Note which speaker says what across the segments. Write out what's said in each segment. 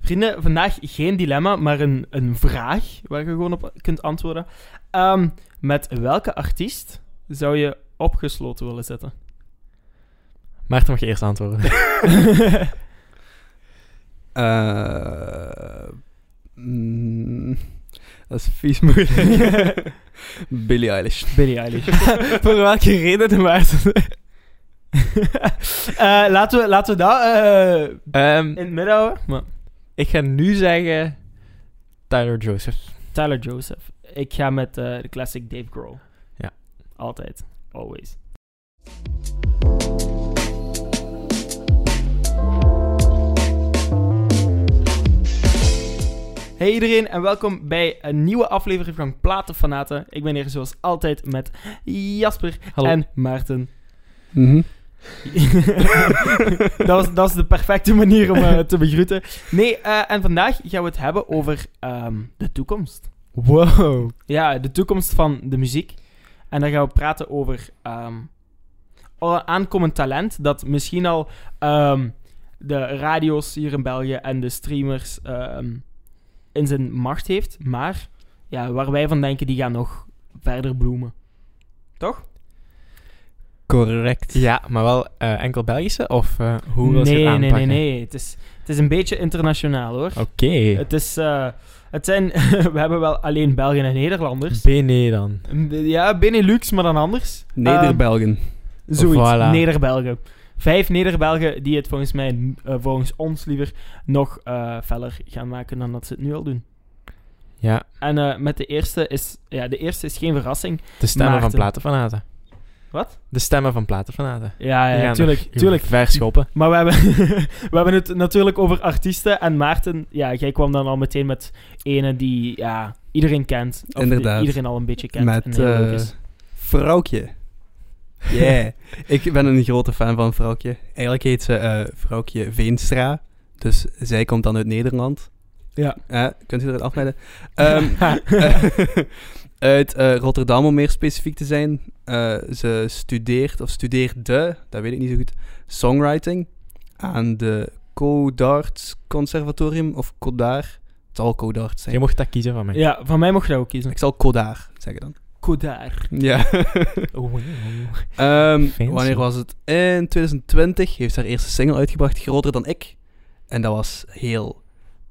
Speaker 1: Vrienden, vandaag geen dilemma, maar een, een vraag waar je gewoon op kunt antwoorden. Ehm, met welke artiest zou je opgesloten willen zetten?
Speaker 2: Maarten mag je eerst antwoorden.
Speaker 3: Eh, mm, dat is vies moeilijk. Billie Eilish.
Speaker 1: Billie Eilish.
Speaker 2: Voor welke reden, Maarten?
Speaker 1: Eh, laten, we, laten we dat eh,
Speaker 2: Ehm,
Speaker 1: in het midden houden. Maar
Speaker 2: ik ga nu zeggen Tyler Joseph.
Speaker 1: Tyler Joseph. Ik ga met eh, de classic Dave Grohl.
Speaker 2: Ja.
Speaker 1: Altijd. Always. Hey iedereen en welkom bij een nieuwe aflevering van Platenfanaten. Ik ben hier zoals altijd met Jasper
Speaker 2: Hallo.
Speaker 1: en Maarten.
Speaker 3: Mhm.
Speaker 1: dat, was, dat is de perfecte manier om eh, te begroeten. Nee, eh, en vandaag gaan we het hebben over ehm, de toekomst.
Speaker 2: Wow.
Speaker 1: Ja, de toekomst van de muziek. En dan gaan we praten over ehm, al aankomend talent dat misschien al ehm, de radio's hier in België en de streamers ehm, in zijn macht heeft. Maar ja, waar wij van denken, die gaan nog verder bloemen. Toch?
Speaker 3: Correct.
Speaker 2: Ja, maar wel eh, enkel Belgische? Of eh, hoe wil
Speaker 1: nee,
Speaker 2: je het
Speaker 1: nee,
Speaker 2: aanpakken?
Speaker 1: nee, nee. Het is, het is een beetje internationaal hoor.
Speaker 2: Oké.
Speaker 1: Het is... eh, het zijn, we hebben wel alleen Belgen en Nederlanders.
Speaker 2: Bene dan.
Speaker 1: Ja, Benelux, maar dan anders. Ehm,
Speaker 3: Neder-Belgen.
Speaker 1: Zoiets,
Speaker 2: Voilà.
Speaker 1: Nederbelgen. Vijf Nederbelgen die het volgens mij, eh, volgens ons liever, nog eh feller gaan maken dan dat ze het nu al doen.
Speaker 2: Ja,
Speaker 1: En eh, met de eerste is, ja, de eerste is geen verrassing.
Speaker 2: de stemmen
Speaker 1: Maarten.
Speaker 2: van platenfanaten.
Speaker 1: Wat?
Speaker 2: De stemmen van platenfanaten.
Speaker 1: Ja,
Speaker 2: Die
Speaker 1: ja
Speaker 2: gaan
Speaker 1: tuurlijk,
Speaker 2: er
Speaker 1: tuurlijk.
Speaker 2: Verschoppen.
Speaker 1: Maar we hebben, we hebben het natuurlijk over artiesten. En Maarten, ja, jij kwam dan al meteen met ene die ja, iedereen kent. Of die
Speaker 3: Inderdaad.
Speaker 1: iedereen al een beetje kent.
Speaker 3: Met, eh,
Speaker 1: en heel leuk is.
Speaker 3: Vrouwtje. Yeah. ik ben een grote fan van Vrouwtje. Eigenlijk heet ze eh Vrouwtje Veenstra. Dus zij komt dan uit Nederland.
Speaker 1: Ja.
Speaker 3: Eh, kunt u eruit afleiden? Ehm, eh, uit eh, Rotterdam, om meer specifiek te zijn. Eh, ze studeert, of studeerde, dat weet ik niet zo goed, songwriting aan de Codarts Conservatorium, of Codar. Het zal Codarts
Speaker 2: Je
Speaker 3: zijn.
Speaker 2: mocht dat kiezen van mij.
Speaker 1: ja, van mij mocht je dat ook kiezen.
Speaker 3: Ik zal Codar zeggen dan.
Speaker 1: Kodaar.
Speaker 3: Ja.
Speaker 2: Oh, wow.
Speaker 3: Ehm,
Speaker 2: Fancy.
Speaker 3: wanneer was het? In 2020 heeft ze haar eerste single uitgebracht, Groter dan ik. En dat was heel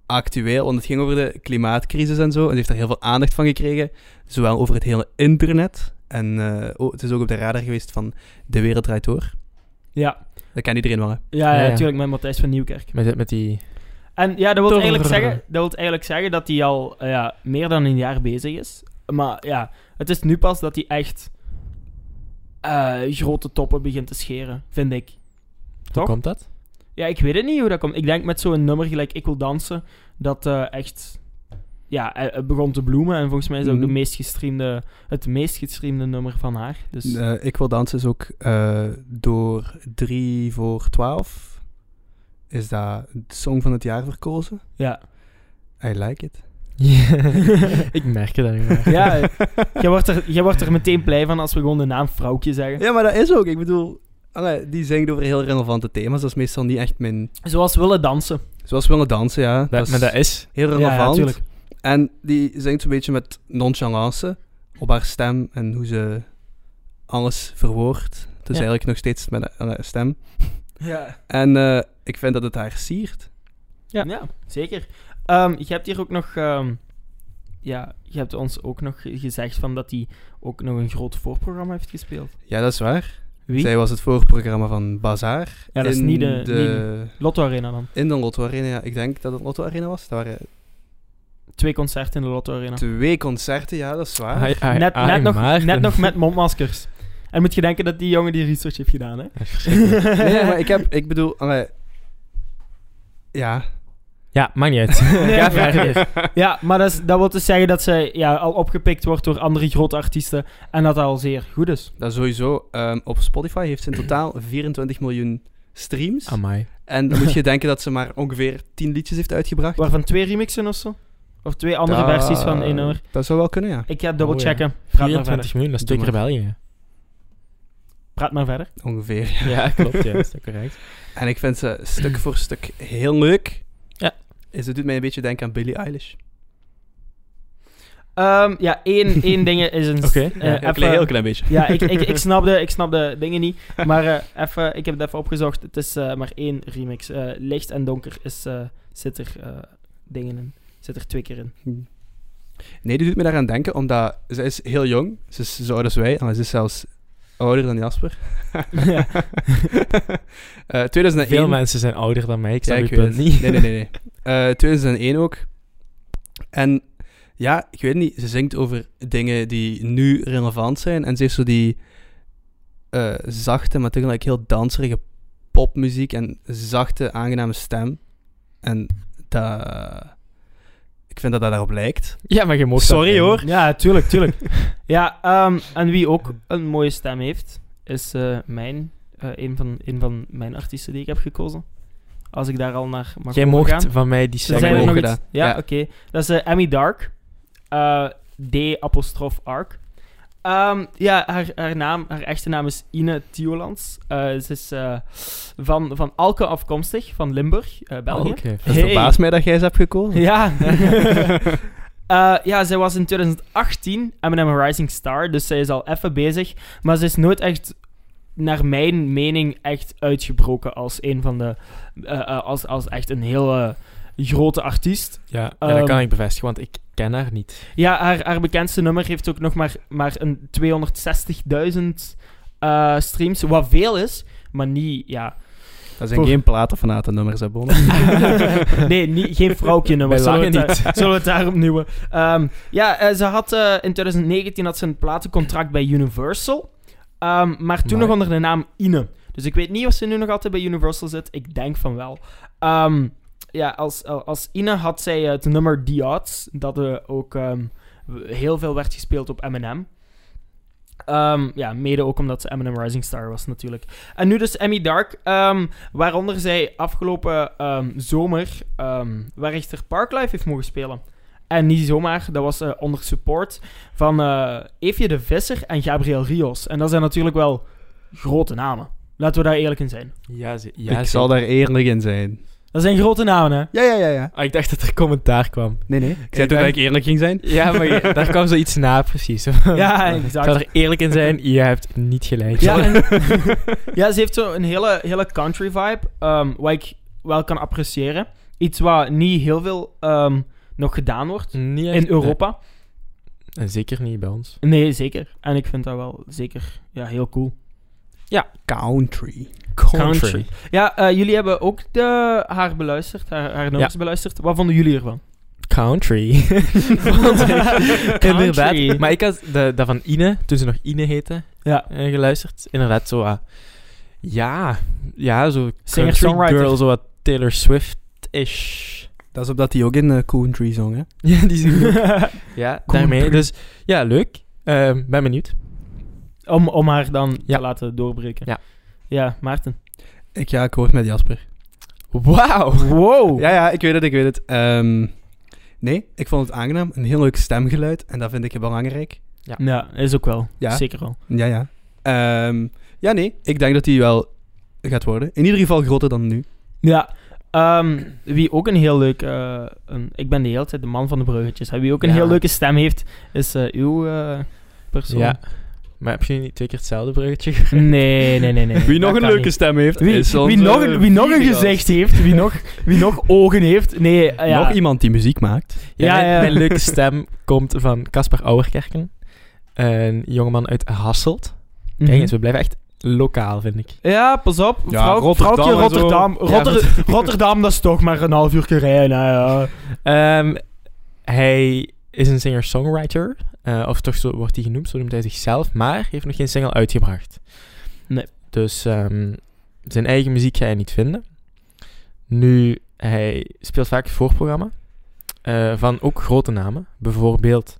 Speaker 3: actueel, want het ging over de klimaatcrisis en zo. En ze heeft daar heel veel aandacht van gekregen, zowel over het hele internet. En eh, oh, het is ook op de radar geweest van De Wereld Draait Door.
Speaker 1: Ja,
Speaker 3: Dat kan iedereen wel, hè?
Speaker 1: ja,
Speaker 2: Ja,
Speaker 1: ja,
Speaker 2: ja.
Speaker 1: tuurlijk, met Matthijs van Nieuwkerk.
Speaker 2: Met, met die...
Speaker 1: En ja, dat wil
Speaker 2: Torr.
Speaker 1: eigenlijk zeggen, dat, wil eigenlijk zeggen dat hij al eh, ja, meer dan een jaar bezig is. Maar ja, het is nu pas dat hij echt eh, grote toppen begint te scheren, vind ik.
Speaker 2: Hoe
Speaker 1: Toch?
Speaker 2: komt dat?
Speaker 1: Ja, ik weet het niet hoe dat komt. Ik denk met zo'n nummer gelijk Ik Wil Dansen, dat eh, echt... Ja, eh, het begon te bloemen en volgens mij is dat ook
Speaker 3: Mhm.
Speaker 1: de meest gestreamde, het meest gestreamde nummer van haar. Dus
Speaker 3: Eh, ik wil dansen is ook eh, door 3 voor 12. Is dat de song van het jaar verkozen?
Speaker 1: ja.
Speaker 3: I like it.
Speaker 2: ik merk het eigenlijk. wel.
Speaker 1: ja eh, jij, wordt er, jij wordt er meteen blij van als we gewoon de naam Vrouwtje zeggen.
Speaker 3: Ja, maar dat is ook. Ik bedoel, allee, die zingt over heel relevante thema's. Dat is meestal niet echt mijn...
Speaker 1: Zoals Willen Dansen.
Speaker 3: Zoals willen dansen, ja. Dat,
Speaker 2: Dat,
Speaker 3: is
Speaker 2: maar dat is...
Speaker 3: heel
Speaker 1: Ja, ja,
Speaker 3: relevant.
Speaker 1: tuurlijk.
Speaker 3: en die zingt zo'n beetje met nonchalance op haar stem en hoe ze alles verwoordt. Het is
Speaker 1: Ja.
Speaker 3: eigenlijk nog steeds met haar haar stem.
Speaker 1: Ja.
Speaker 3: En eh, ik vind dat het haar siert.
Speaker 1: Ja, zeker. Ehm, je hebt hier ook nog... ehm, ja, je hebt ons ook nog ge- gezegd van dat hij ook nog een groot voorprogramma heeft gespeeld.
Speaker 3: Ja, dat is waar.
Speaker 1: Wie?
Speaker 3: Zij was het voorprogramma van Bazaar.
Speaker 1: ja, dat is
Speaker 3: in
Speaker 1: niet de, niet
Speaker 3: de
Speaker 1: de Lotto Arena dan.
Speaker 3: In de Lotto Arena. Ja, Ik denk dat het Lotto Arena was. Dat waren
Speaker 1: Twee concerten in de Lotto Arena.
Speaker 3: twee concerten. Ja, dat is waar.
Speaker 2: Ai, ai,
Speaker 1: Ah. net,
Speaker 2: ai,
Speaker 1: net, nog,
Speaker 2: Ah, Maarten.
Speaker 1: net nog met mondmaskers. En moet je denken dat die jongen die research heeft gedaan, hè?
Speaker 3: Nee, maar ik heb... Ik bedoel... allee, ja,
Speaker 2: Ja, maakt niet uit.
Speaker 1: Nee,
Speaker 2: Ga
Speaker 1: maar-
Speaker 2: verder.
Speaker 1: Ja, maar dat, is- dat wil dus zeggen dat ze ja, al opgepikt wordt door andere grote artiesten. En dat dat al zeer goed is.
Speaker 3: Dat sowieso. Ehm, op Spotify heeft ze in totaal 24 miljoen streams.
Speaker 2: Amai.
Speaker 3: En dan moet je denken dat ze maar ongeveer 10 liedjes heeft uitgebracht.
Speaker 1: Waarvan twee remixen of zo. Of twee andere versies van één nummer.
Speaker 3: Dat zou wel kunnen, ja.
Speaker 1: Ik ga dubbel
Speaker 2: Oh, ja.
Speaker 1: checken. Praat maar verder.
Speaker 2: 24 miljoen, dat is twee
Speaker 3: Doe
Speaker 2: keer België.
Speaker 1: Praat maar verder.
Speaker 3: Ongeveer.
Speaker 2: Ja, klopt. Ja, dat is ook correct.
Speaker 3: En ik vind ze stuk voor stuk heel leuk.
Speaker 2: Ja.
Speaker 3: Is, het doet mij een beetje denken aan Billie Eilish.
Speaker 1: Ehm, ja, één, één ding is een...
Speaker 2: Oké.
Speaker 1: eh,
Speaker 3: Ja, een
Speaker 1: even-
Speaker 3: klein- heel klein beetje.
Speaker 1: Ja, ik, ik, ik, snap de, ik snap de dingen niet. Maar eh, even, ik heb het even opgezocht. Het is eh, maar één remix. Eh, licht en donker is, eh, zit er eh, dingen in. Zit er twee keer in.
Speaker 3: Nee, die doet me daaraan denken, omdat ze is heel jong. Ze is zo oud als wij, en ze is zelfs ouder dan Jasper.
Speaker 1: Ja.
Speaker 3: Eh, 2001.
Speaker 2: Veel mensen zijn ouder dan mij, ik
Speaker 3: Ja,
Speaker 2: snap
Speaker 3: ik
Speaker 2: je
Speaker 3: weet
Speaker 2: punt
Speaker 3: het.
Speaker 2: niet.
Speaker 3: Nee, nee, nee. nee. Eh, 2001 ook. En ja, ik weet niet, ze zingt over dingen die nu relevant zijn. En ze heeft zo die eh, zachte, maar tegelijk heel danserige popmuziek en zachte, aangename stem. En dat... Ik vind dat dat daarop lijkt.
Speaker 2: Ja, maar je mocht dat
Speaker 3: Sorry,
Speaker 2: niet.
Speaker 3: hoor.
Speaker 1: Ja, tuurlijk, tuurlijk. ja, ehm, en wie ook een mooie stem heeft, is eh, mijn, eh, een, van, een van mijn artiesten die ik heb gekozen. Als ik daar al naar mag
Speaker 2: Jij
Speaker 1: overgaan.
Speaker 2: mocht van mij die
Speaker 1: Er zijn
Speaker 3: Jij
Speaker 2: stem
Speaker 1: er
Speaker 3: mocht
Speaker 1: nog
Speaker 2: ook.
Speaker 1: iets.
Speaker 3: dat.
Speaker 1: Ja,
Speaker 3: Ja.
Speaker 1: oké. Dat is eh, Emmy Dark. Eh, D apostrof arc. Ehm, ja, haar, haar, naam, haar echte naam is Ine Tiolands. Eh, ze is eh, van, van Alke afkomstig, van Limburg, eh, België.
Speaker 2: Oké.
Speaker 3: Het
Speaker 1: Hey.
Speaker 3: verbaast mij dat jij ze hebt gekozen.
Speaker 1: Ja. Eh, ja, zij was in 2018 M&M Rising Star, dus zij is al even bezig. Maar ze is nooit echt, naar mijn mening, echt uitgebroken als een van de... eh, eh, als, als echt een hele grote artiest.
Speaker 2: Ja, ja, dat kan
Speaker 1: Ehm,
Speaker 2: ik bevestigen, want ik ken haar niet.
Speaker 1: Ja, haar, haar bekendste nummer heeft ook nog maar, maar een 260.000 eh, streams, wat veel is, maar niet, ja...
Speaker 3: Dat zijn
Speaker 1: Voor-
Speaker 3: geen platenfanatennummers, hè, Bonne?
Speaker 1: nee, niet, geen vrouwtje nummer.
Speaker 2: Bij
Speaker 1: Zullen we,
Speaker 2: lange
Speaker 1: het, daar- zullen we het daar opnieuw. doen? Ehm, ja, eh, ze had eh, in 2019 had ze een platencontract bij Universal. Ehm, maar toen
Speaker 2: Amai.
Speaker 1: nog onder de naam Ine. Dus ik weet niet of ze nu nog altijd bij Universal zit. Ik denk van wel. Ehm, ja, als, als Ine had zij eh, het nummer The Odds. Dat eh, ook ehm, heel veel werd gespeeld op M&M. Ehm, ja, mede ook omdat ze M&M Rising Star was natuurlijk. En nu dus Emmy Dark, ehm, waaronder zij afgelopen ehm, zomer ehm Werchter Parklife heeft mogen spelen. En niet zomaar, dat was eh, onder support van eh Eefje de Visser en Gabriel Rios. En dat zijn natuurlijk wel grote namen. Laten we daar eerlijk in zijn.
Speaker 2: Ja, ze,
Speaker 3: ik zal daar eerlijk in zijn.
Speaker 1: Dat zijn grote namen, hè?
Speaker 3: Ja, ja, ja, ja.
Speaker 2: Ah, ik dacht dat er commentaar kwam.
Speaker 3: Nee, nee. Ik zei
Speaker 2: Ik
Speaker 3: toch dat
Speaker 2: ben-
Speaker 3: ik eerlijk ging zijn?
Speaker 2: Ja, maar je- daar kwam zoiets na, precies.
Speaker 1: Ja,
Speaker 2: Ik
Speaker 1: exact.
Speaker 2: zal er eerlijk in zijn, je hebt niet gelijk.
Speaker 1: Ja, en- ja, ze heeft zo een hele, hele country vibe, ehm, wat ik wel kan appreciëren. Iets wat niet heel veel ehm, nog gedaan wordt
Speaker 2: Niet echt-
Speaker 1: in Europa.
Speaker 2: nee. En zeker niet bij ons.
Speaker 1: Nee, zeker. En ik vind dat wel zeker ja, heel cool.
Speaker 3: Country.
Speaker 1: Country. Ja, eh, jullie hebben ook de, haar beluisterd, haar, haar nummers beluisterd. Wat vonden jullie ervan?
Speaker 2: Country. Want ik-
Speaker 1: Country.
Speaker 2: inderdaad. Maar ik had de, dat van Ine, toen ze nog Ine heette,
Speaker 1: Ja.
Speaker 2: eh, geluisterd. Inderdaad, zo ah, ja, ja, zo country
Speaker 1: Singer-songwriter.
Speaker 2: girl, zo wat Taylor Swift-ish.
Speaker 3: Dat is omdat hij ook in eh, country zong, hè?
Speaker 2: Ja, die zien Ja, daarmee.
Speaker 1: Country.
Speaker 2: Dus ja, leuk. Ehm, ben benieuwd.
Speaker 1: om, om haar dan
Speaker 2: Ja.
Speaker 1: te laten doorbreken.
Speaker 2: Ja.
Speaker 1: Ja, Maarten.
Speaker 3: Ik ga akkoord met Jasper.
Speaker 2: Wauw.
Speaker 1: Oh. Wow!
Speaker 3: Ja, ja, ik weet het, ik weet het. Ehm, nee, ik vond het aangenaam. Een heel leuk stemgeluid. En dat vind ik heel belangrijk.
Speaker 1: Ja, is ook wel.
Speaker 3: Ja.
Speaker 1: Zeker wel.
Speaker 3: Ja, ja. Ehm, ja, nee. Ik denk dat hij wel gaat worden. In ieder geval groter dan nu.
Speaker 1: Ja. ehm, wie ook een heel leuk... eh, een, ik ben de hele tijd de man van de bruggetjes. hè. Wie ook een
Speaker 2: Ja.
Speaker 1: heel leuke stem heeft, is eh, uw eh, persoon.
Speaker 2: Ja. Maar heb je niet twee keer hetzelfde bruggetje gemaakt?
Speaker 1: Nee, nee, nee, nee.
Speaker 3: Wie nog
Speaker 1: Dat
Speaker 3: een
Speaker 1: kan
Speaker 3: leuke
Speaker 1: niet.
Speaker 3: stem heeft,
Speaker 1: Wie,
Speaker 3: is eh,
Speaker 1: wie,
Speaker 3: onze
Speaker 1: nog, een- wie nog een
Speaker 3: vierde gast.
Speaker 1: gezicht heeft, wie nog, wie nog ogen heeft. Nee, eh, ja.
Speaker 3: Nog iemand die muziek maakt.
Speaker 1: Ja,
Speaker 2: mijn,
Speaker 1: ja.
Speaker 2: mijn leuke stem komt van Caspar Ouwerkerken. Een jongeman uit Hasselt.
Speaker 1: Mhm.
Speaker 2: Kijk eens, we blijven echt lokaal, vind ik.
Speaker 1: Ja, pas op.
Speaker 3: Ja,
Speaker 1: Vrouw,
Speaker 3: Rotterdam
Speaker 1: vrouwtje
Speaker 3: en zo.
Speaker 1: Rotterdam.
Speaker 3: Ja,
Speaker 1: Rotter- Rotterdam, dat is toch maar een half uur rijden. hè, ja.
Speaker 2: Ehm, hij is een singer-songwriter. eh, of toch zo wordt hij genoemd, zo noemt hij zichzelf. Maar heeft nog geen single uitgebracht.
Speaker 1: Nee.
Speaker 2: Dus ehm, zijn eigen muziek ga je niet vinden. Nu, hij speelt vaak het voorprogramma. eh, van ook grote namen. Bijvoorbeeld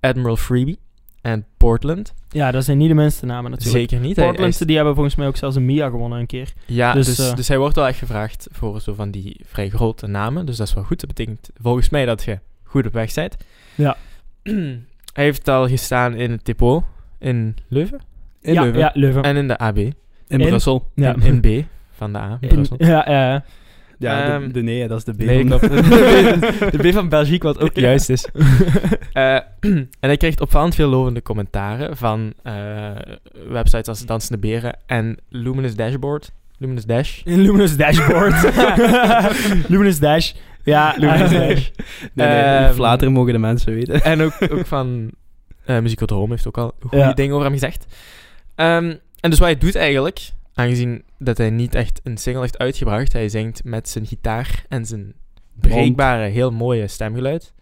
Speaker 2: Admiral Freebie en Portland.
Speaker 1: Ja, dat zijn niet de minste namen natuurlijk.
Speaker 2: Zeker niet. hij- hij
Speaker 1: Portland, die hebben volgens mij ook zelfs een Mia gewonnen een keer.
Speaker 2: Ja,
Speaker 1: Dus,
Speaker 2: dus,
Speaker 1: eh,
Speaker 2: dus hij wordt wel echt gevraagd voor zo van die vrij grote namen. Dus dat is wel goed. Dat betekent volgens mij dat je goed op weg bent.
Speaker 1: Ja.
Speaker 2: hij heeft al gestaan in het Depot in Leuven
Speaker 3: In
Speaker 1: ja,
Speaker 3: Leuven.
Speaker 1: Ja, Leuven.
Speaker 2: en in de AB.
Speaker 3: In,
Speaker 1: in-
Speaker 3: Brussel.
Speaker 1: ja.
Speaker 2: In, in B van de A. in
Speaker 1: In-
Speaker 2: Brussel.
Speaker 1: ja, ja, ja.
Speaker 3: Ja, de,
Speaker 2: Ehm,
Speaker 3: de nee, dat is de B.
Speaker 2: Nee, klopt. de B van België, wat ook
Speaker 3: Ja.
Speaker 2: juist is. Eh, en ik kreeg opvallend veel lovende commentaren van eh, websites als Dansende Beren en Luminous Dashboard. Luminous Dash.
Speaker 1: In Luminous Dashboard. Luminous Dash. Ja,
Speaker 2: Luminous
Speaker 1: eh,
Speaker 2: Dash.
Speaker 3: nee, nee,
Speaker 2: Ehm,
Speaker 3: flateren mogen de mensen weten.
Speaker 2: En ook, ook van eh Musical de Home heeft ook al goede
Speaker 1: Ja.
Speaker 2: dingen over hem gezegd. Ehm, en dus wat hij doet eigenlijk, aangezien dat hij niet echt een single heeft uitgebracht, hij zingt met zijn gitaar en zijn breekbare, heel mooie stemgeluid.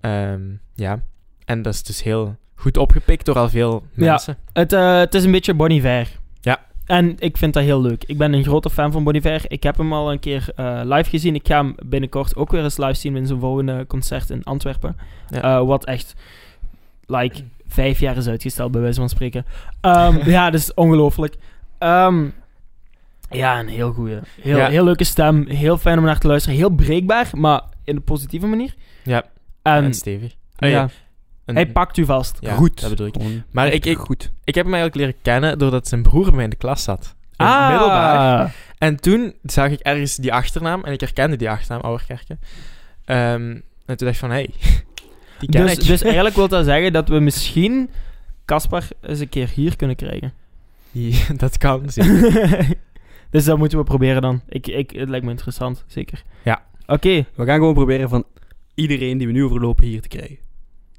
Speaker 2: Ehm, ja, en dat is dus heel goed opgepikt door al veel
Speaker 1: Ja.
Speaker 2: mensen.
Speaker 1: Het, eh, het is een beetje Bon Iver.
Speaker 2: Ja.
Speaker 1: En ik vind dat heel leuk. Ik ben een grote fan van Bon Iver. Ik heb hem al een keer eh, live gezien. Ik ga hem binnenkort ook weer eens live zien in zijn volgende concert in Antwerpen.
Speaker 2: Ja.
Speaker 1: Eh, wat echt, like, vijf jaar is uitgesteld, bij wijze van spreken. Ehm, ja, dat is ongelooflijk. Ehm, ja, een heel goede. Heel,
Speaker 2: Ja.
Speaker 1: heel leuke stem. Heel fijn om naar te luisteren. Heel breekbaar, maar in een positieve manier.
Speaker 2: Ja.
Speaker 1: En,
Speaker 2: en stevig.
Speaker 1: ehm, ja,
Speaker 2: Oh ja, een-
Speaker 1: hij pakt u vast.
Speaker 2: ja,
Speaker 3: Goed.
Speaker 2: Dat bedoel ik.
Speaker 3: Gewoon
Speaker 2: Maar ik, ik,
Speaker 3: goed.
Speaker 2: ik heb hem eigenlijk leren kennen doordat zijn broer bij mij in de klas zat. In
Speaker 1: Ah.
Speaker 2: het middelbaar. En toen zag ik ergens die achternaam en ik herkende die achternaam, Ouwerkerken. Ehm, en toen dacht ik van, hé, hey, die ken
Speaker 1: Dus,
Speaker 2: ik.
Speaker 1: dus eigenlijk wil dat zeggen dat we misschien Caspar eens een keer hier kunnen krijgen.
Speaker 2: Die- dat kan, zeker.
Speaker 1: dus dat moeten we proberen dan. Ik, ik, het lijkt me interessant, zeker.
Speaker 2: Ja.
Speaker 1: Oké,
Speaker 3: We gaan gewoon proberen van iedereen die we nu overlopen hier te krijgen.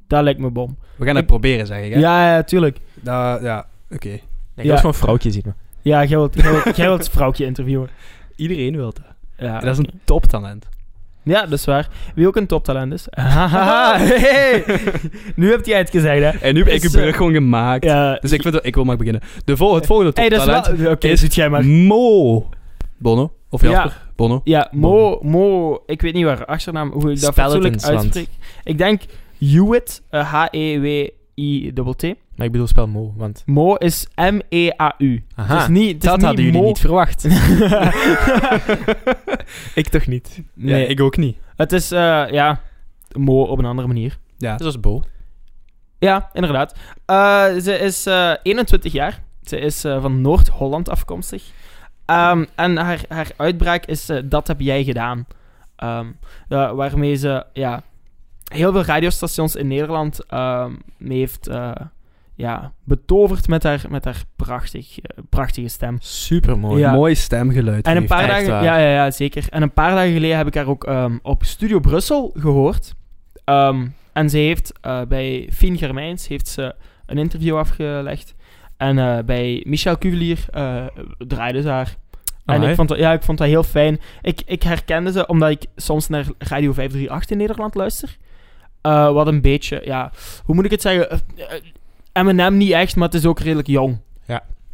Speaker 1: dat lijkt me bom.
Speaker 3: We gaan het
Speaker 1: Ik-
Speaker 3: proberen, zeg ik. Hè?
Speaker 1: Ja, ja, tuurlijk.
Speaker 3: Da- ja, oké.
Speaker 2: Nee, ik was gewoon een vrouwtje zien. me.
Speaker 1: Ja, jij wilt, jij wilt, jij wilt het vrouwtje interviewen.
Speaker 3: Iedereen wil dat.
Speaker 1: Ja,
Speaker 3: dat is een toptalent.
Speaker 1: ja, dat is waar. Wie ook een toptalent is. Hahaha, hey. Nu heb jij het gezegd, hè.
Speaker 3: En nu heb ik
Speaker 1: Is,
Speaker 3: een brug
Speaker 1: eh,
Speaker 3: gewoon gemaakt.
Speaker 1: Ja.
Speaker 3: Dus ik, vind dat, ik wil maar beginnen. De vol, het volgende
Speaker 1: hey, dat is wel...
Speaker 3: toptalent
Speaker 1: Oké,
Speaker 3: is-
Speaker 1: doet jij maar.
Speaker 3: Mo. Bono. Of Jasper.
Speaker 1: Ja,
Speaker 3: Bono.
Speaker 1: ja Mo, Mo... Ik weet niet waar haar achternaam... Hoe ik dat
Speaker 2: Spel het
Speaker 1: fatsoenlijk
Speaker 2: eens, want-
Speaker 1: uitspreek. Ik denk Hewitt. eh, H-E-W-I-T-T.
Speaker 2: Maar ik bedoel spel Mo, want...
Speaker 1: Mo is M-E-A-U.
Speaker 2: Aha,
Speaker 1: het is niet, het is
Speaker 2: Ah, dat
Speaker 1: niet
Speaker 2: hadden jullie
Speaker 1: Mo.
Speaker 2: niet verwacht. ik toch niet.
Speaker 1: nee,
Speaker 3: Ja, ik ook niet.
Speaker 1: het is eh, ja, Mo op een andere manier.
Speaker 3: Ja.
Speaker 2: Dat was Bo.
Speaker 1: Ja, inderdaad. Eh, ze is eh, 21 jaar. Ze is eh, van Noord-Holland afkomstig. Ehm, en haar, haar uitbraak is eh, Dat heb jij gedaan. Ehm, da- waarmee ze ja, heel veel radiostations in Nederland ehm, mee heeft eh, ja, betoverd met haar, met haar prachtig, eh, prachtige stem.
Speaker 2: Super mooi.
Speaker 1: Ja.
Speaker 3: Mooi stemgeluid.
Speaker 1: En een
Speaker 3: heeft.
Speaker 1: paar
Speaker 2: Echt
Speaker 1: dagen,
Speaker 2: waar.
Speaker 1: ja, ja, ja, zeker. En een paar dagen geleden heb ik haar ook ehm, op Studio Brussel gehoord. Ehm, en ze heeft eh, bij Fien Germijns heeft ze een interview afgelegd. En eh, bij Michel Cuvelier eh, draaide ze haar. en ik vond, dat, ja, ik vond dat heel fijn. Ik, ik herkende ze omdat ik soms naar Radio 538 in Nederland luister. Eh, wat een beetje, ja, hoe moet ik het zeggen? Eh, eh, M&M niet echt, maar het is ook redelijk jong.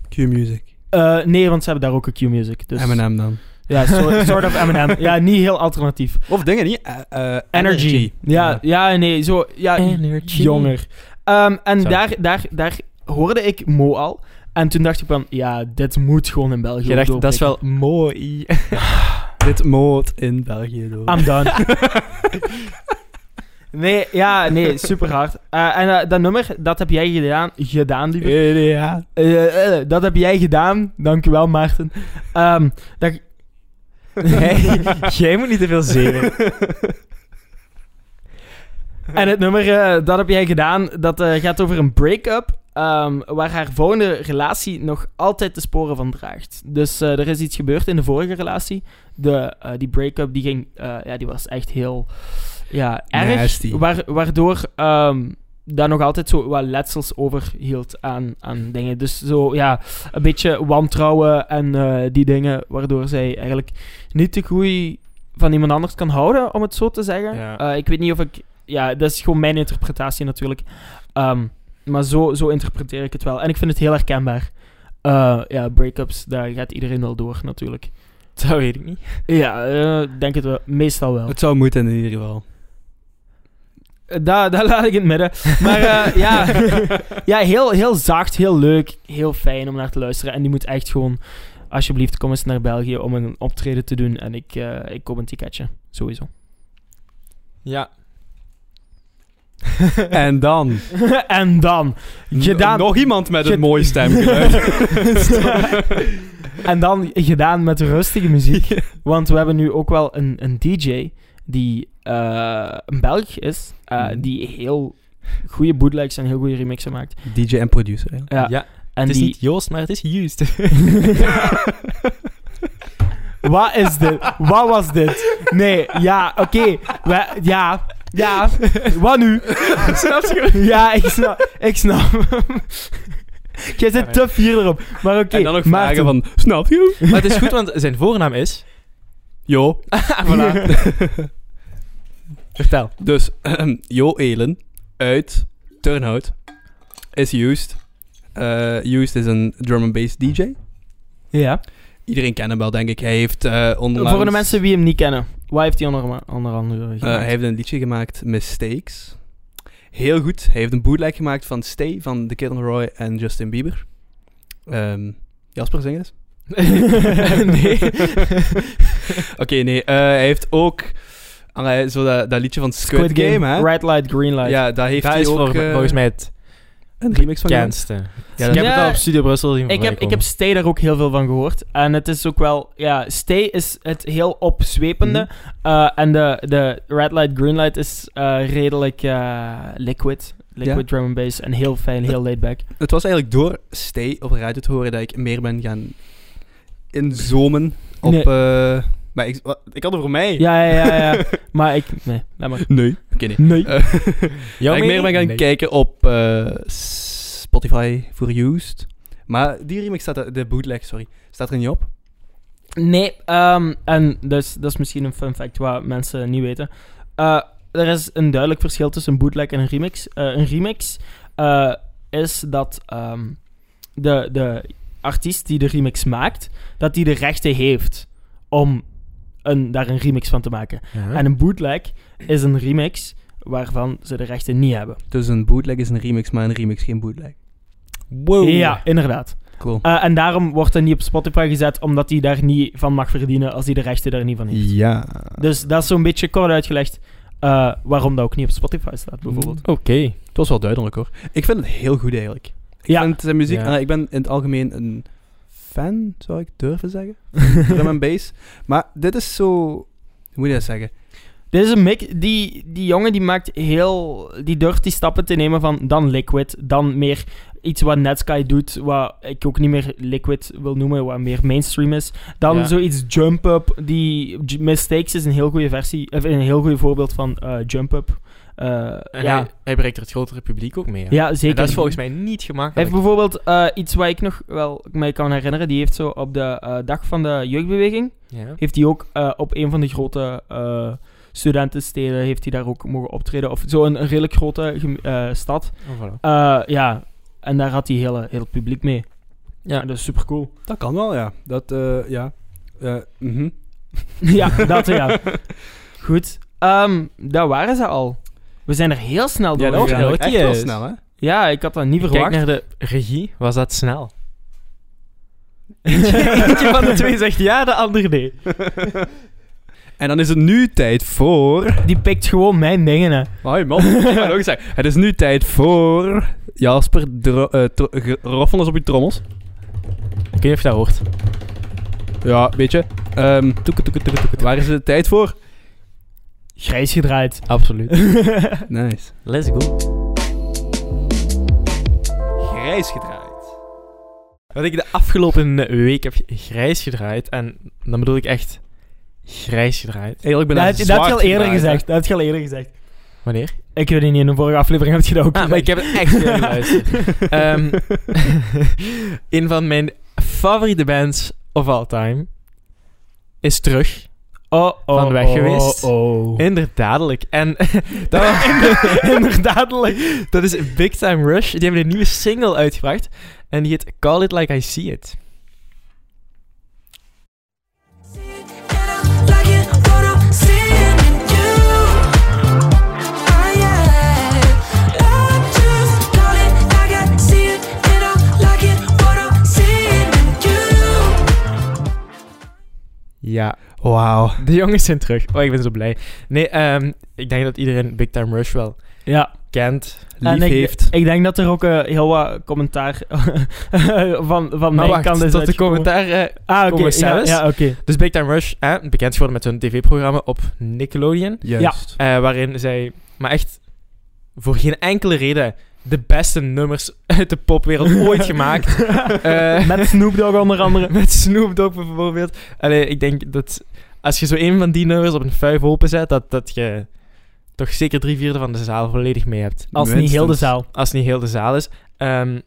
Speaker 3: Q-music.
Speaker 1: Eh, nee, want ze hebben daar ook een Q-music. Dus...
Speaker 3: M&M dan.
Speaker 1: Ja, soort, soort of M&M. Ja, niet heel alternatief.
Speaker 3: Of dingen niet. eh, eh,
Speaker 1: Energy. Ja, ja, nee, zo... Ja,
Speaker 2: Energy.
Speaker 1: jonger. Ehm, en
Speaker 2: Zo.
Speaker 1: daar, daar, daar hoorde ik Mo al. En toen dacht ik van, ja, dit moet gewoon in België
Speaker 2: Je dacht, dat is
Speaker 1: doorbreken.
Speaker 2: wel mooi.
Speaker 3: Dit moot in België. Door.
Speaker 1: I'm done. nee, ja, nee, super hard. en eh, dat nummer, dat heb jij gedaan, gedaan lieve.
Speaker 3: Ja.
Speaker 1: Eh, eh, dat heb jij gedaan, dankjewel Maarten. Ehm, dat...
Speaker 2: Jij- jij moet niet te veel zeren.
Speaker 1: En het nummer eh, Dat heb jij gedaan, dat eh, gaat over een break-up. ehm, waar haar volgende relatie nog altijd de sporen van draagt. Dus eh, er is iets gebeurd in de vorige relatie. De, eh, die break-up die ging, eh, ja, die was echt heel ja, erg.
Speaker 3: Nasty.
Speaker 1: Waar- waardoor ehm daar nog altijd zo wat letsels over hield aan, aan dingen. Dus zo, ja, een beetje wantrouwen en eh, die dingen. Waardoor zij eigenlijk niet de groei van iemand anders kan houden, om het zo te zeggen.
Speaker 2: Ja.
Speaker 1: Eh, ik weet niet of ik ja, dat is gewoon mijn interpretatie natuurlijk. Ehm, maar zo, zo interpreteer ik het wel. En ik vind het heel herkenbaar. Eh, ja, break-ups, daar gaat iedereen wel door natuurlijk.
Speaker 2: Dat weet ik niet.
Speaker 1: Ja, eh, denk het wel. Meestal wel.
Speaker 3: Het zou moeten in ieder geval.
Speaker 1: Eh, Daar, daar laat ik in het midden. Maar eh, ja, ja heel, heel zacht, heel leuk, heel fijn om naar te luisteren. En die moet echt gewoon, alsjeblieft, kom eens naar België om een optreden te doen. En ik, eh, ik koop een ticketje, sowieso.
Speaker 2: Ja.
Speaker 3: En dan.
Speaker 1: en dan, gedaan.
Speaker 3: Nog iemand met
Speaker 1: Ged-
Speaker 3: een mooi stemgeluid.
Speaker 1: En dan gedaan met rustige muziek. Want we hebben nu ook wel een, een DJ die eh, een Belg is, eh,
Speaker 3: Mhm.
Speaker 1: die heel goede bootlegs en heel goede remixen maakt.
Speaker 3: DJ en producer. eigenlijk.
Speaker 1: Ja,
Speaker 2: Ja,
Speaker 1: en
Speaker 2: het is
Speaker 1: die...
Speaker 2: niet Joost, maar het is Joost.
Speaker 1: Wat is dit? Wat was dit? Nee, ja, oké. We- Ja, ja. Wat nu?
Speaker 2: Snap je?
Speaker 1: Ja, ik snap. Ik snap. Jij zit te fier erop. Maar oké.
Speaker 3: en dan ook
Speaker 1: Maarten.
Speaker 3: vragen van, snap je?
Speaker 2: Maar het is goed, want zijn voornaam is... Ah,
Speaker 3: Jo.
Speaker 2: voilà. Vertel.
Speaker 3: Dus Jo Elen uit Turnhout is Used. Eh Used is een drum and bass DJ.
Speaker 1: Ja.
Speaker 3: Iedereen kent hem wel, denk ik. Hij heeft eh onlangs...
Speaker 1: Voor de mensen die hem niet kennen, wat heeft hij onder, onder andere
Speaker 3: eh,
Speaker 1: gedaan?
Speaker 3: hij heeft een liedje gemaakt, Mistakes. Heel goed. Hij heeft een bootleg gemaakt van Stay van The Kid on the Roy en Justin Bieber. Ehm, Jasper, zing eens.
Speaker 1: nee.
Speaker 3: Oké, nee. eh, hij heeft ook... ah, hij- zo dat, dat liedje van Squid, Game, hè?
Speaker 1: Red Light, Green Light.
Speaker 3: Ja, daar heeft
Speaker 2: Dat
Speaker 3: hij
Speaker 2: is
Speaker 3: ook
Speaker 2: voor-
Speaker 3: eh,
Speaker 2: volgens mij het
Speaker 3: een remix van gemaakt.
Speaker 2: bekendste.
Speaker 3: Ja,
Speaker 2: ik heb
Speaker 3: dat-
Speaker 2: het al op Studio Brussel zien
Speaker 1: Ik heb, ik
Speaker 2: voorbij
Speaker 1: heb Stay daar ook heel veel van gehoord. En het is ook wel... Ja, Stay is het heel opzwepende.
Speaker 3: Mhm.
Speaker 1: Eh, en de, de Red Light, Green Light is eh, redelijk eh, liquid. Liquid
Speaker 3: Ja.
Speaker 1: drum and bass. En heel fijn, heel laid back.
Speaker 3: Het was eigenlijk door Stay op de radio te horen dat ik meer ben gaan inzoomen op...
Speaker 1: Nee.
Speaker 3: eh, maar ik, wat- ik had het voor mij.
Speaker 1: Ja, ja, ja. ja. maar ik... Nee, laat maar.
Speaker 3: Nee. Oké, nee.
Speaker 1: Nee.
Speaker 3: Eh,
Speaker 2: komen.
Speaker 3: dat
Speaker 2: Jouw
Speaker 3: ik meer ben gaan
Speaker 2: mening?
Speaker 3: kijken op eh, Spotify voor Used. Maar die remix staat er, de bootleg, sorry, staat er niet op.
Speaker 1: Nee, ehm, en dus, dat is misschien een fun fact wat mensen niet weten. Eh, er is een duidelijk verschil tussen een bootleg en een remix. Eh, een remix eh, is dat ehm, de, de artiest die de remix maakt, dat die de rechten heeft om een, daar een remix van te maken.
Speaker 2: Ja.
Speaker 1: En een bootleg is een remix waarvan ze de rechten niet hebben.
Speaker 3: Dus een bootleg is een remix, maar een remix geen bootleg. Oh.
Speaker 2: Wow.
Speaker 1: Ja, inderdaad.
Speaker 3: Cool.
Speaker 1: Eh, en daarom wordt dat niet op Spotify gezet, omdat hij daar niet van mag verdienen als hij de rechten daar niet van heeft.
Speaker 3: Ja.
Speaker 1: Dus dat is zo'n beetje kort uitgelegd eh, waarom dat ook niet op Spotify staat, bijvoorbeeld.
Speaker 2: Oké.
Speaker 3: Het was wel duidelijk hoor. Ik vind het heel goed eigenlijk. Ik
Speaker 1: Ja.
Speaker 3: vind zijn muziek...
Speaker 2: Ja.
Speaker 3: eh, ik ben in het algemeen een fan, zou ik durven zeggen. Drum and bass. Maar dit is zo... Hoe moet je dat zeggen?
Speaker 1: Dit is een mix. Die, die jongen die maakt heel... Die durft die stappen te nemen van dan Liquid, dan meer iets wat Netsky doet, wat ik ook niet meer Liquid wil noemen, wat meer mainstream is. Dan
Speaker 2: Ja.
Speaker 1: zoiets Jump Up. Die J- Mistakes is een heel goede versie, of een heel goed voorbeeld van eh, Jump Up. Eh,
Speaker 2: En
Speaker 1: ja.
Speaker 2: hij, hij bereikt er het grotere publiek ook mee. hè?
Speaker 1: ja,
Speaker 2: En
Speaker 1: zeker.
Speaker 2: dat is volgens mij niet
Speaker 1: Hij
Speaker 2: gemakkelijk.
Speaker 1: heeft bijvoorbeeld eh, iets wat ik nog wel mij kan herinneren. Die heeft zo op de eh, dag van de jeugdbeweging
Speaker 2: Ja.
Speaker 1: heeft hij ook eh, op een van de grote eh, studentensteden heeft hij daar ook mogen optreden. Of zo'n een redelijk grote gem- eh, stad.
Speaker 2: Oh, voilà.
Speaker 1: Eh, ja, en daar had hij heel, heel het publiek mee.
Speaker 2: Ja.
Speaker 1: En dat is super cool.
Speaker 3: Dat kan wel, ja. Dat, eh, ja. Eh, mhm.
Speaker 1: ja, dat ja. Goed, Ehm daar waren ze al. We zijn er heel snel
Speaker 3: Ja,
Speaker 1: door.
Speaker 3: dat was
Speaker 2: Ja,
Speaker 1: gegaan.
Speaker 3: eigenlijk
Speaker 2: dat
Speaker 3: echt wel
Speaker 2: is.
Speaker 3: snel, hè?
Speaker 1: ja, ik had dat niet
Speaker 2: Kijk
Speaker 1: verwacht.
Speaker 2: naar de regie, was dat snel? Eentje van de twee zegt ja, de ander nee.
Speaker 3: En dan is het nu tijd voor...
Speaker 1: Die pikt gewoon mijn dingen. Hè.
Speaker 3: Hoi man, ik ga het ook zeggen. Het is nu tijd voor... Jasper, dro- eh, tro- ge- roffel eens op je trommels.
Speaker 2: Ik weet niet of je dat hoort.
Speaker 3: Ja, weet je. Ehm,
Speaker 2: Toeke, toeke, toeke, toeke, toeke.
Speaker 3: waar is het tijd voor?
Speaker 1: Grijs gedraaid.
Speaker 2: Absoluut.
Speaker 3: Nice.
Speaker 2: Let's go.
Speaker 3: Grijs gedraaid.
Speaker 2: Wat ik de afgelopen week heb grijs gedraaid, en dan bedoel ik echt grijs gedraaid.
Speaker 3: Eerlijk ben
Speaker 1: Dat,
Speaker 3: ik
Speaker 1: heb je- dat heb je al eerder gezegd. Dat heb je al eerder gezegd.
Speaker 2: Wanneer?
Speaker 1: Ik weet het niet, in de vorige aflevering heb je dat ook
Speaker 2: Ah, maar ik
Speaker 1: gezegd.
Speaker 2: heb het echt veel geluisterd. Ehm, een van mijn favoriete bands of all time is terug.
Speaker 1: oh, oh,
Speaker 2: van weg
Speaker 1: oh,
Speaker 2: geweest.
Speaker 1: oh.
Speaker 2: Inderdaadelijk. En dat, was- inder- inderdaadelijk. dat is Big Time Rush. Die hebben een nieuwe single uitgebracht. En die heet Call It Like I See It.
Speaker 4: Like it, what I'm seeing in you. I yeah. Love just call it like I see it, and I like it, what I'm seeing in you.
Speaker 2: Ja,
Speaker 3: Wauw.
Speaker 2: de jongens zijn terug. Oh, ik ben zo blij. Nee, ehm, ik denk dat iedereen Big Time Rush wel
Speaker 1: Ja,
Speaker 2: kent.
Speaker 3: Lief
Speaker 1: En ik,
Speaker 3: heeft.
Speaker 1: ik denk dat er ook eh, heel wat commentaar van, van
Speaker 2: Oh, maar dus
Speaker 1: mijn
Speaker 2: wacht,
Speaker 1: kant is
Speaker 2: tot de
Speaker 1: uitgekomen.
Speaker 2: commentaar. eh,
Speaker 1: Ah, oké.
Speaker 2: komen
Speaker 1: ja,
Speaker 2: zelfs.
Speaker 1: ja, oké.
Speaker 2: dus Big Time Rush, eh, bekend geworden met hun tv-programma op Nickelodeon.
Speaker 3: Juist.
Speaker 2: Eh, waarin zij, maar echt voor geen enkele reden, de beste nummers uit de popwereld ooit gemaakt. Eh,
Speaker 1: Met Snoop Dogg onder andere.
Speaker 2: met Snoop Dogg bijvoorbeeld. Allee, ik denk dat als je zo een van die nummers op een vijf open zet, dat, dat je toch zeker drie vierde van de zaal volledig mee hebt.
Speaker 1: Als niet heel de
Speaker 3: Minstens.
Speaker 1: zaal.
Speaker 2: Als het niet heel de zaal is. Ehm,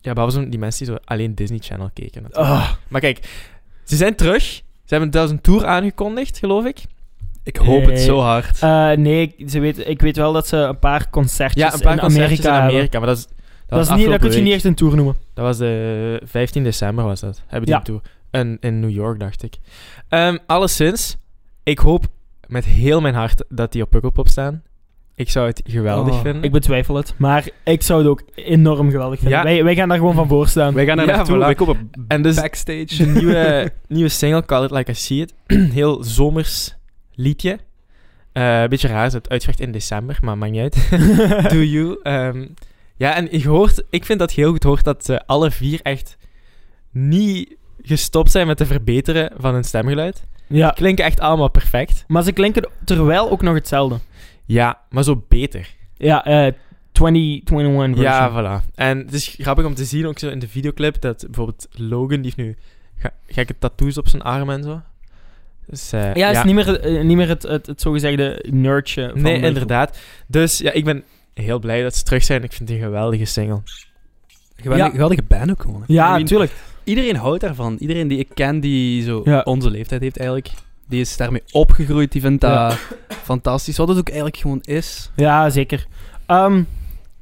Speaker 2: ja, behalve zo die mensen die zo alleen Disney Channel keken. natuurlijk.
Speaker 1: Ah,
Speaker 2: Maar kijk, ze zijn terug. Ze hebben zelfs een tour aangekondigd, geloof ik.
Speaker 3: Ik hoop het
Speaker 1: Eh,
Speaker 3: zo hard.
Speaker 1: eh, nee, ik- ze weet, ik weet wel dat ze een paar concertjes
Speaker 2: Ja, een paar
Speaker 1: in
Speaker 2: concertjes
Speaker 1: Amerika
Speaker 2: in
Speaker 1: hebben.
Speaker 2: Amerika. Maar dat is, dat
Speaker 1: Dat, is niet, dat
Speaker 2: was afgelopen
Speaker 1: kun je niet
Speaker 2: week.
Speaker 1: echt een tour noemen.
Speaker 2: Dat was de 15 december was dat. Hebben die
Speaker 1: Ja.
Speaker 2: een tour. En, in New York, dacht ik. Ehm alleszins, ik hoop met heel mijn hart dat die op Pukkelpop staan. Ik zou het geweldig
Speaker 3: Oh,
Speaker 2: vinden.
Speaker 1: Ik betwijfel het. Maar ik zou het ook enorm geweldig vinden.
Speaker 2: Ja.
Speaker 1: Wij, wij gaan daar gewoon van voor staan.
Speaker 3: Wij gaan daar
Speaker 2: ja,
Speaker 3: naartoe.
Speaker 2: voilà.
Speaker 3: Wij komen
Speaker 2: en dus
Speaker 3: backstage.
Speaker 2: een nieuwe, nieuwe single, Call It Like I See It. heel zomers liedje. Eh, een beetje raar, is het uitgebracht in december, maar maakt niet uit. Do You. Ehm, ja, en je hoort, ik vind dat je heel goed hoort dat ze alle vier echt niet gestopt zijn met te verbeteren van hun stemgeluid.
Speaker 1: Ja.
Speaker 2: Klinken echt allemaal perfect.
Speaker 1: Maar ze klinken terwijl ook nog hetzelfde.
Speaker 2: Ja, maar zo beter.
Speaker 1: Ja, eh 2021 version.
Speaker 2: Ja, voilà. En het is grappig om te zien, ook zo in de videoclip, dat bijvoorbeeld Logan, die heeft nu ga, gekke tattoos op zijn arm en zo. Dus, eh,
Speaker 1: Ja, het is niet meer, eh, niet meer het, het, het zogezegde nerdje. Van
Speaker 2: Nee,
Speaker 1: de groep.
Speaker 2: inderdaad. Dus ja, ik ben heel blij dat ze terug zijn. Ik vind het een geweldige
Speaker 1: Ah,
Speaker 2: single.
Speaker 3: Geweldige,
Speaker 1: Ja.
Speaker 3: geweldige band ook gewoon.
Speaker 1: Ja,
Speaker 3: I mean,
Speaker 1: natuurlijk.
Speaker 3: Iedereen houdt daarvan. Iedereen die ik ken die zo
Speaker 1: Ja.
Speaker 3: onze leeftijd heeft eigenlijk, die is daarmee opgegroeid. Die vindt dat
Speaker 1: Ja.
Speaker 3: fantastisch. Wat het ook eigenlijk gewoon is.
Speaker 1: Ja, zeker. Ehm,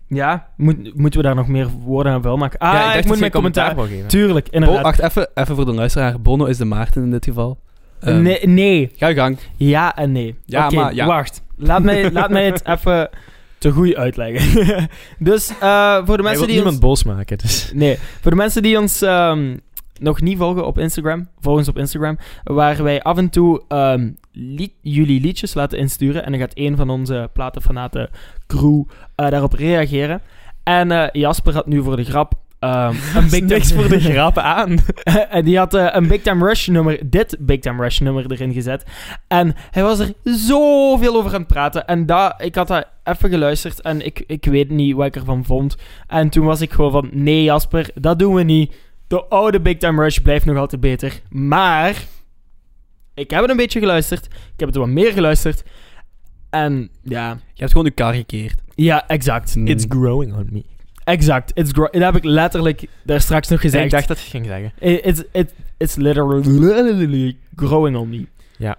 Speaker 1: ja, moet, moeten we daar nog meer woorden aan vuil maken? Ah,
Speaker 2: ja,
Speaker 1: ik, moet mijn commentaar...
Speaker 2: wel geven.
Speaker 1: Tuurlijk,
Speaker 3: Bo,
Speaker 1: inderdaad.
Speaker 3: wacht, even, even voor de luisteraar. Bono is de Maarten in dit geval. Ehm,
Speaker 1: nee, nee,
Speaker 3: Ga je gang.
Speaker 1: ja en nee.
Speaker 3: Ja,
Speaker 1: Oké,
Speaker 3: maar ja.
Speaker 1: wacht. Laat mij, laat mij het even te goed uitleggen. dus eh, voor de
Speaker 2: Hij wil
Speaker 1: mensen die
Speaker 2: niemand
Speaker 1: ons...
Speaker 2: boos maken, dus...
Speaker 1: Nee, voor de mensen die ons ehm, nog niet volgen op Instagram, volg ons op Instagram, waar wij af en toe ehm, lied- jullie liedjes laten insturen. En dan gaat een van onze platenfanaten crew eh, daarop reageren. En eh, Jasper had nu voor de grap ehm, een big
Speaker 2: niks voor de
Speaker 1: grappen aan. en die had eh, een Big Time Rush nummer, dit Big Time Rush nummer erin gezet. En hij was er zoveel over aan het praten. En dat, ik had dat even geluisterd en ik, ik weet niet wat ik ervan vond. En toen was ik gewoon van, nee Jasper, dat doen we niet. De oude Big Time Rush blijft nog altijd beter. Maar, ik heb het een beetje geluisterd. Ik heb het wat meer geluisterd. En ja,
Speaker 3: Je hebt gewoon je kar gekeerd.
Speaker 1: ja, exact.
Speaker 2: It's growing on me.
Speaker 1: Exact. It's gro- dat heb ik letterlijk daar straks nog gezegd.
Speaker 2: Ik dacht dat je ging zeggen.
Speaker 1: I- It's, it, it's literally growing on me.
Speaker 2: Ja.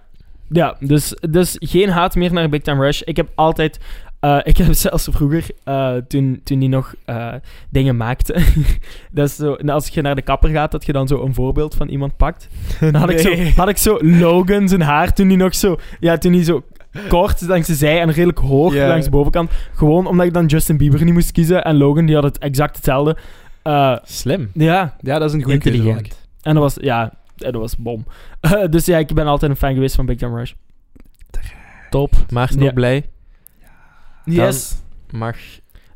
Speaker 1: Ja, dus, dus geen haat meer naar Big Time Rush. Ik heb altijd... eh, ik heb zelfs vroeger, eh, toen, toen die nog eh, dingen maakte... dat is zo, nou, als je naar de kapper gaat, dat je dan zo een voorbeeld van iemand pakt. Dan had, ik,
Speaker 2: Nee.
Speaker 1: zo, had ik zo Logan zijn haar toen hij nog zo... Ja, toen hij zo kort langs de zij en redelijk hoog
Speaker 3: Ja.
Speaker 1: langs de bovenkant. Gewoon omdat ik dan Justin Bieber niet moest kiezen. En Logan, die had het exact hetzelfde. Eh,
Speaker 2: Slim.
Speaker 1: ja,
Speaker 3: Ja, dat is een goede keuze. vond ik.
Speaker 2: Intelligent.
Speaker 1: en dat was, ja, en dat was bom. dus ja, ik ben altijd een fan geweest van Big Time Rush.
Speaker 2: Top. Maarten
Speaker 1: Ja.
Speaker 2: ook blij.
Speaker 1: Yes.
Speaker 2: Mag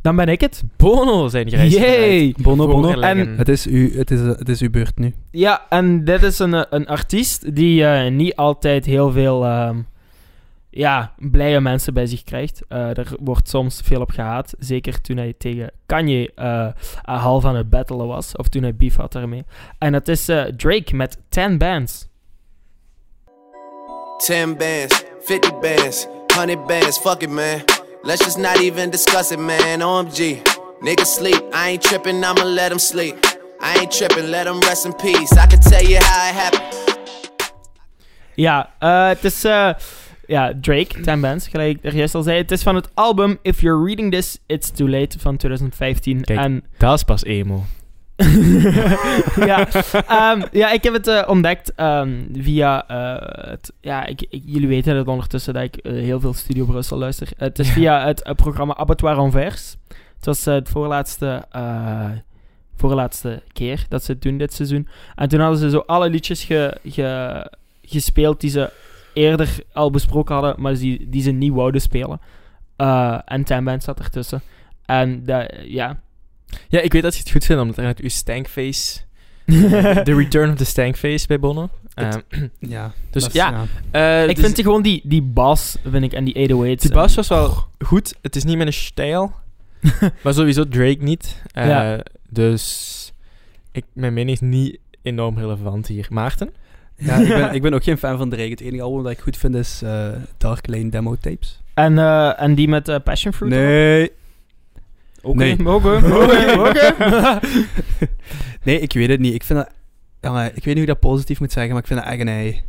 Speaker 1: Dan ben ik het.
Speaker 2: Bono zijn gereisd.
Speaker 1: Yay!
Speaker 3: Bono, Bono.
Speaker 2: En
Speaker 3: Het is, u, het, is, het is uw beurt nu.
Speaker 1: Ja, en dit is een, eh, een artiest die eh, niet altijd heel veel ehm, ja, blije mensen bij zich krijgt. Eh er wordt soms veel op gehaat. Zeker toen hij tegen Kanye eh, eh, half aan het battelen was. Of toen hij beef had daarmee. En dat is eh, Drake met 10 bands.
Speaker 5: 10 bands, 50 bands, 100 bands, fuck it, man. Let's just not even discuss it, man. OMG. Niggas sleep, I ain't trippin', I'ma let 'em sleep. I ain't trippin', let 'em rest in peace. I can tell you how it happened.
Speaker 1: Ja, eh, het is eh, ja, Drake, 10 bands, gelijk ik er juist al zei. Het is van het album If You're Reading This, It's Too Late van 2015.
Speaker 2: Kijk.
Speaker 1: En
Speaker 2: dat is pas emo.
Speaker 1: ja, ehm, ja, ik heb het eh, ontdekt ehm, via. eh, het, ja, ik, ik- jullie weten het ondertussen dat ik eh, heel veel Studio Brussel luister. het is via het eh, programma Abattoir en Vers. Het was eh, het voorlaatste, eh, voorlaatste keer dat ze het doen dit seizoen. En toen hadden ze zo alle liedjes ge, ge- gespeeld die ze eerder al besproken hadden, maar die, die ze niet wouden spelen. Eh, en Tamband staat ertussen. En dat- ja.
Speaker 2: Ja, ik weet dat je het goed vindt, omdat er net uw stankface... the return of the stankface bij Bono. Ehm,
Speaker 3: Ja.
Speaker 2: dus
Speaker 3: dat is-
Speaker 2: ja, eh,
Speaker 1: ik
Speaker 2: dus
Speaker 1: vind die gewoon die, die bas, vind ik, en die 808's.
Speaker 2: die bas
Speaker 1: en-
Speaker 2: was wel goed. Het is niet mijn stijl. maar sowieso Drake niet. Eh,
Speaker 1: Ja.
Speaker 2: Dus ik, mijn mening is niet enorm relevant hier. Maarten?
Speaker 3: ja ik, ben, ik ben ook geen fan van Drake. Het enige album dat ik goed vind is eh, Dark Lane Demo Tapes.
Speaker 1: En, eh, en die met eh, Passion Fruit?
Speaker 3: Nee.
Speaker 1: Oké,
Speaker 3: Nee.
Speaker 1: oké, oké, oké.
Speaker 3: nee, ik weet het niet. Ik vind dat... Jongen, ik weet niet hoe ik dat positief moet zeggen, maar ik vind dat echt een ei.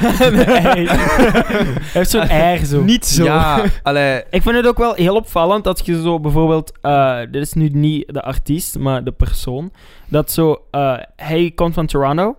Speaker 1: Nee. Hij heeft zo'n air zo.
Speaker 2: Niet
Speaker 3: Ja, allee...
Speaker 1: Ik vind het ook wel heel opvallend dat je zo bijvoorbeeld, eh, dit is nu niet de artiest, maar de persoon, dat zo, eh, hij komt van Toronto.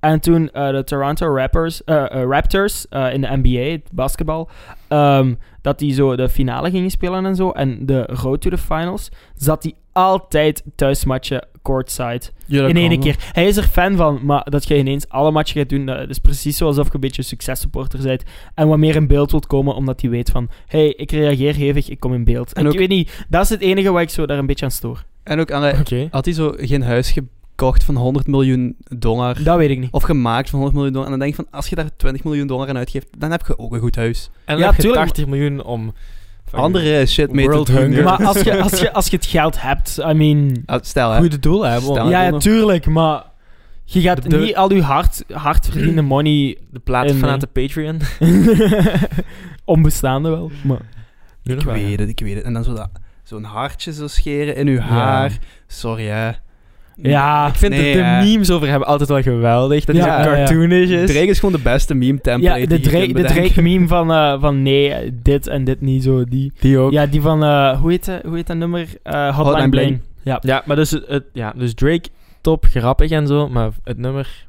Speaker 1: En toen eh, de Toronto rappers, eh, eh, Raptors eh, in de NBA, het basketbal, ehm, dat die zo de finale gingen spelen en zo. En de road to the finals, zat hij altijd thuismatchen courtside. in één keer. Hij is er fan van, maar dat je ineens alle matchen gaat doen, dat is precies alsof je een beetje een successupporter bent. En wat meer in beeld wilt komen, omdat hij weet van, hé, hey, ik reageer hevig, ik kom in beeld. En
Speaker 3: En ook-
Speaker 1: ik weet niet, dat is het enige waar ik zo daar een beetje aan stoor.
Speaker 3: En ook, allee,
Speaker 2: Oké.
Speaker 3: had hij zo geen huis gekocht van 100 miljoen dollar...
Speaker 1: Dat weet ik niet.
Speaker 3: Of gemaakt van 100 miljoen dollar. En dan denk je van, als je daar 20 miljoen dollar aan uitgeeft, dan heb je ook een goed huis.
Speaker 2: En dan
Speaker 1: Ja,
Speaker 2: heb je
Speaker 1: tuurlijk.
Speaker 2: 80 miljoen om... van
Speaker 3: Andere shit mee
Speaker 2: World
Speaker 3: te doen.
Speaker 2: hunger.
Speaker 1: Maar als je, als, je, als je het geld hebt, I mean...
Speaker 3: Ah, stel, hè.
Speaker 2: goede doel hebben.
Speaker 3: Stel-
Speaker 2: om
Speaker 3: maar
Speaker 1: Ja, ja,
Speaker 3: Bono.
Speaker 1: tuurlijk, maar je gaat
Speaker 2: De-
Speaker 1: niet al je hard, hard verdiende money...
Speaker 2: De plaat
Speaker 1: En, eh,
Speaker 2: vanuit de Patreon.
Speaker 1: Onbestaande wel, maar...
Speaker 2: Nu nog
Speaker 3: Ik
Speaker 2: wel, ja.
Speaker 3: weet het, ik weet het. En dan zo dat- zo'n hartje zo scheren in uw haar. Sorry, hè.
Speaker 1: Ja,
Speaker 2: Ik vind
Speaker 3: Nee,
Speaker 2: de, de
Speaker 3: hè.
Speaker 2: memes over hem altijd wel geweldig. Dat
Speaker 1: Ja,
Speaker 2: hij zo
Speaker 1: ja, ja.
Speaker 2: cartoonish is.
Speaker 3: Drake is gewoon de beste meme
Speaker 1: Ja,
Speaker 3: template.
Speaker 1: de Drake- de Drake-meme van, eh, van nee, dit en dit niet zo, die...
Speaker 2: Die ook. Ja,
Speaker 1: Ja, die van, eh, hoe, heet, dat- hoe heet dat nummer? Eh, Hotline,
Speaker 3: Hotline
Speaker 1: Bling.
Speaker 3: Bling.
Speaker 1: Ja.
Speaker 2: maar dus, het, het- ja, dus Drake, top, grappig en zo. Maar het nummer...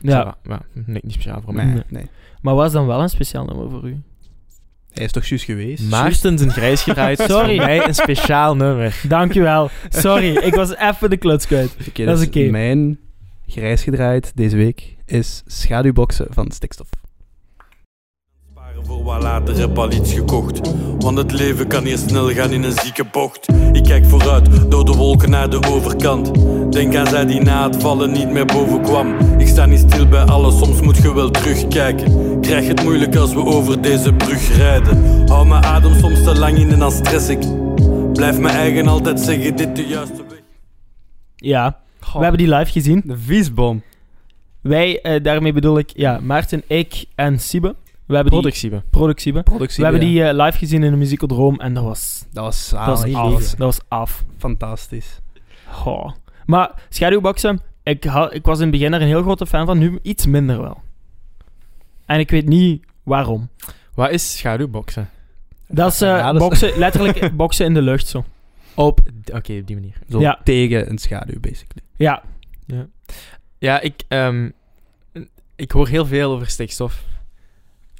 Speaker 1: ja.
Speaker 2: Ja. ja nee, niet speciaal voor mij.
Speaker 3: Nee, nee.
Speaker 1: Maar was dan wel een speciaal nummer voor u?
Speaker 3: Hij is toch juist geweest?
Speaker 2: Maarten zijn grijs gedraaid. is
Speaker 1: Sorry.
Speaker 2: Voor mij een speciaal nummer.
Speaker 1: Dankjewel. Sorry, ik was even de kluts kwijt.
Speaker 3: Oké,
Speaker 1: dat is
Speaker 3: dus
Speaker 1: oké.
Speaker 3: Mijn grijs gedraaid deze week is schaduwboxen van stikstof.
Speaker 6: Sparen voor wat later heb al iets gekocht. Want het leven kan hier snel gaan in een zieke bocht. Ik kijk vooruit, door de wolken naar de overkant. Denk aan zij die na het vallen niet meer boven kwam. Ik sta niet stil bij alles, soms moet je wel terugkijken. Krijg het moeilijk als we over deze brug rijden. Hou mijn adem soms te lang in en dan stress ik. Blijf mijn eigen altijd zeggen, dit de juiste weg.
Speaker 1: Ja, we hebben die live gezien.
Speaker 3: De viesbom.
Speaker 1: Wij, eh, daarmee bedoel ik, ja, Maarten, ik en Siebe. We hebben
Speaker 2: Productie.
Speaker 1: die productie. We
Speaker 3: Productie.
Speaker 1: hebben
Speaker 3: ja. Ah,
Speaker 1: die eh, live gezien in de musical Droom en dat was,
Speaker 3: Dat was
Speaker 1: dat was
Speaker 3: zalig.
Speaker 1: af. Dat was af.
Speaker 3: Fantastisch.
Speaker 1: Goh. Maar schaduwboksen, ik, ha- ik was in het begin er een heel grote fan van, nu iets minder wel. En ik weet niet waarom.
Speaker 2: Wat is schaduwboksen?
Speaker 1: Dat is eh,
Speaker 3: Ja, dat is-
Speaker 1: boksen, letterlijk boksen in de lucht zo.
Speaker 2: Op... Oké, op die manier.
Speaker 3: Zo
Speaker 1: Ja.
Speaker 3: tegen een schaduw, basically.
Speaker 1: Ja,
Speaker 2: Ja, ik... ehm, ik hoor heel veel over stikstof.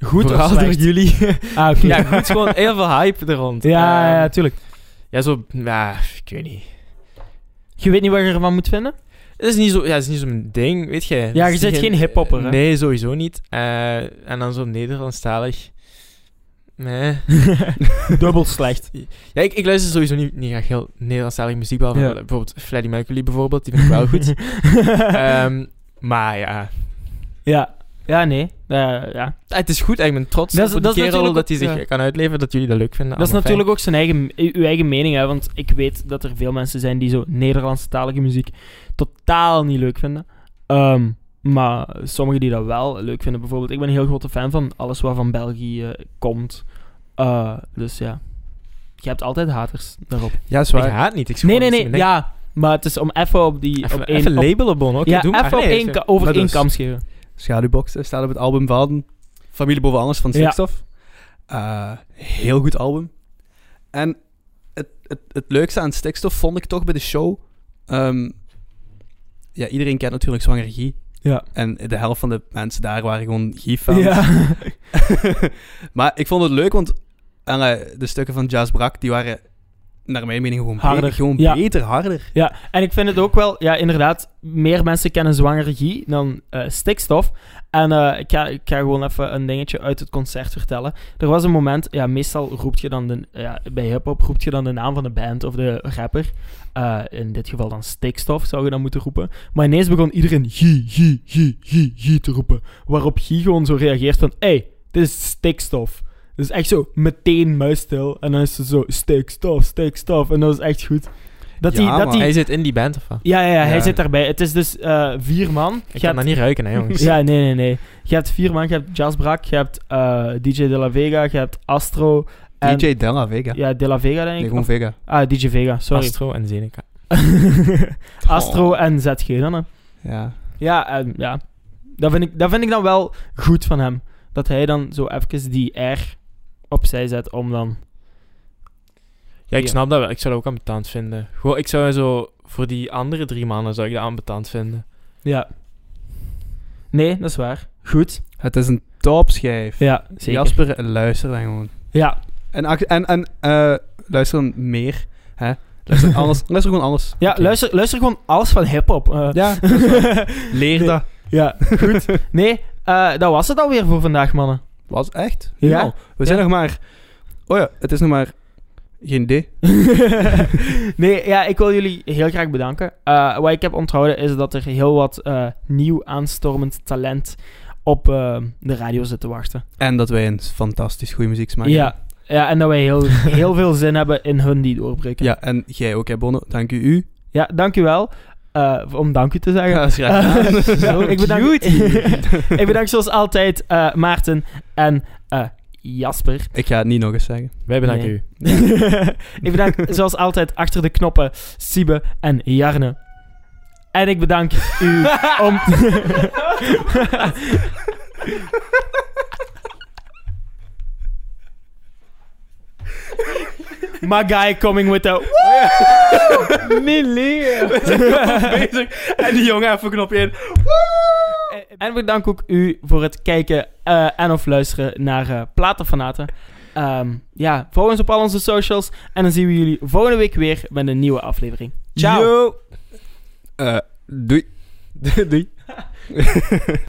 Speaker 1: goed of
Speaker 2: Vooral door
Speaker 1: slecht?
Speaker 2: jullie.
Speaker 1: Ah, oké.
Speaker 2: ja, goed. Gewoon heel veel hype er rond.
Speaker 1: ja,
Speaker 2: Ehm,
Speaker 1: ja, tuurlijk.
Speaker 2: Ja, zo... Ja, ik weet niet.
Speaker 1: Je weet niet wat je ervan moet vinden?
Speaker 2: Het is niet zo, ja, het is niet zo'n ding, weet je.
Speaker 1: Ja,
Speaker 2: Het
Speaker 1: je
Speaker 2: is eh,
Speaker 1: bent geen hiphopper, hè?
Speaker 2: Nee, sowieso niet. Eh, en dan zo Nederlandstalig. Nee.
Speaker 1: Dubbel slecht.
Speaker 2: Ja, ik, ik luister sowieso niet, niet graag heel Nederlandstalige muziek, behalve
Speaker 1: Ja.
Speaker 2: bijvoorbeeld Freddie Mercury bijvoorbeeld, die vind ik wel goed. Ehm, maar ja,
Speaker 1: ja. ja, nee. Eh, ja.
Speaker 2: Ah, het is goed. Ik ben trots
Speaker 1: Dat
Speaker 2: dat
Speaker 1: is-
Speaker 2: op
Speaker 1: dat
Speaker 2: die
Speaker 1: is
Speaker 2: kerel
Speaker 1: natuurlijk
Speaker 2: dat hij
Speaker 1: ook-
Speaker 2: zich
Speaker 1: ja.
Speaker 2: kan uitleven, dat jullie dat leuk vinden.
Speaker 1: Dat is
Speaker 2: Allemaal
Speaker 1: natuurlijk ook zijn eigen, uw eigen mening, hè. Want ik weet dat er veel mensen zijn die zo Nederlandstalige muziek totaal niet leuk vinden. Ehm, maar sommigen die dat wel leuk vinden. Bijvoorbeeld, ik ben een heel grote fan van alles wat van België eh, komt. Eh, dus ja. Je hebt altijd haters daarop.
Speaker 3: Ja,
Speaker 2: fijn.
Speaker 3: zwaar.
Speaker 2: Ik haat niet. Ik
Speaker 1: Nee, nee, nee. Ja, maar het is om even op die...
Speaker 2: Even,
Speaker 1: op één-
Speaker 2: even
Speaker 1: op-
Speaker 2: labelen, Bon. Oké,
Speaker 1: ja,
Speaker 2: doe
Speaker 1: even
Speaker 2: maar.
Speaker 1: op
Speaker 2: Nee,
Speaker 1: één,
Speaker 2: even-
Speaker 1: ka- over
Speaker 3: maar
Speaker 1: één
Speaker 3: dus-
Speaker 1: kam scheren.
Speaker 3: Schaduwboxen staat op het album van Familie Boven Alles van
Speaker 1: Ja.
Speaker 3: Stikstof. Eh, heel goed album. En het, het, het leukste aan Stikstof vond ik toch bij de show... ehm, ja, iedereen kent natuurlijk Zwanger Guy.
Speaker 1: Ja.
Speaker 3: En de helft van de mensen daar waren gewoon Guy-fans.
Speaker 1: Ja.
Speaker 3: maar ik vond het leuk, want eh, de stukken van Jazz Brak, die waren naar mijn mening gewoon
Speaker 1: Harder.
Speaker 3: beter. Gewoon
Speaker 1: Ja.
Speaker 3: beter, harder.
Speaker 1: Ja, en ik vind het ook wel, ja, inderdaad, meer mensen kennen zwangere Guy dan eh, stikstof. En eh, ik, ga, ik ga gewoon even een dingetje uit het concert vertellen. Er was een moment, ja, meestal roept je dan, de, ja, bij hip-hop roept je dan de naam van de band of de rapper. Eh, in dit geval dan stikstof zou je dan moeten roepen. Maar ineens begon iedereen Guy, Guy, Guy, Guy, Guy te roepen. Waarop Guy gewoon zo reageert van, hé, hey, dit is stikstof. Dus echt zo meteen muisstil. En dan is het zo stikstof, stikstof. En dat is echt goed. Dat
Speaker 3: Ja,
Speaker 1: die, dat
Speaker 3: man.
Speaker 1: die,
Speaker 2: Hij zit in die band of wat?
Speaker 1: ja, ja, ja, hij
Speaker 3: Ja.
Speaker 1: zit daarbij. Het is dus eh, vier man. Je
Speaker 2: Ik
Speaker 1: hebt-
Speaker 2: kan dat niet ruiken, hè, jongens.
Speaker 1: Ja, nee, nee, nee. Je hebt vier man. Je hebt Jazz Brak, je hebt eh, DJ De La Vega, je hebt Astro. En,
Speaker 3: DJ Della Vega.
Speaker 1: Ja, De La Vega,
Speaker 3: nee,
Speaker 1: denk ik.
Speaker 3: gewoon
Speaker 1: Of-
Speaker 3: Vega.
Speaker 1: ah, DJ Vega, sorry.
Speaker 2: Astro en Zeneca.
Speaker 1: Astro
Speaker 3: Oh.
Speaker 1: en ZG dan, hè.
Speaker 3: Ja.
Speaker 1: Ja, en, ja. Dat vind, ik, dat vind ik dan wel goed van hem. Dat hij dan zo even die R opzij zet om dan...
Speaker 2: Ja, ik
Speaker 1: Ja.
Speaker 2: snap dat wel. Ik zou dat ook aanbetaald vinden. Gewoon, ik zou zo... Voor die andere drie mannen zou ik dat aanbetaald vinden.
Speaker 1: Ja. Nee, dat is waar. Goed.
Speaker 3: Het is een topschijf.
Speaker 1: Ja, zeker.
Speaker 3: Jasper, eh, luister dan gewoon.
Speaker 1: Ja.
Speaker 3: En, ac- en, en eh, luister dan meer. Hè? Luister, alles, luister gewoon alles.
Speaker 1: Ja,
Speaker 3: Oké.
Speaker 1: luister, luister gewoon alles van hip-hop. eh.
Speaker 3: Ja,
Speaker 1: Nee.
Speaker 3: leer dat.
Speaker 1: Ja, goed. Nee, eh, dat was het alweer voor vandaag, mannen.
Speaker 3: Was echt?
Speaker 1: Ja.
Speaker 3: Nou, we zijn nog maar... Oh ja, het is nog maar... Geen idee.
Speaker 1: nee, ja, ik wil jullie heel graag bedanken. Eh, wat ik heb onthouden is dat er heel wat eh, nieuw aanstormend talent op eh, de radio zit te wachten.
Speaker 3: En dat wij een fantastisch goede muzieksmaak hebben.
Speaker 1: ja. ja, en dat wij heel, heel veel zin hebben in hun die doorbreken.
Speaker 3: Ja, en jij ook, hè, Bonno. Dank u, u.
Speaker 1: ja dankjewel. eh, om dank u te zeggen.
Speaker 3: Ja, dat is graag gedaan.
Speaker 1: Eh,
Speaker 3: Zo
Speaker 1: ik, bedank,
Speaker 3: cute.
Speaker 1: ik bedank zoals altijd eh, Maarten en eh, Jasper.
Speaker 3: Ik ga het niet nog eens zeggen.
Speaker 2: Wij bedanken
Speaker 1: Nee.
Speaker 2: u.
Speaker 1: ik bedank zoals altijd achter de knoppen Siebe en Jarne. En ik bedank u om. My guy coming with a. Millie!
Speaker 3: bezig. En die jongen even knopje in.
Speaker 1: En bedank ook u voor het kijken eh, en of luisteren naar eh Platenfanaten. Ehm, ja, volg ons op al onze socials. En dan zien we jullie volgende week weer met een nieuwe aflevering. Ciao!
Speaker 3: Yo. Eh, doei. doei.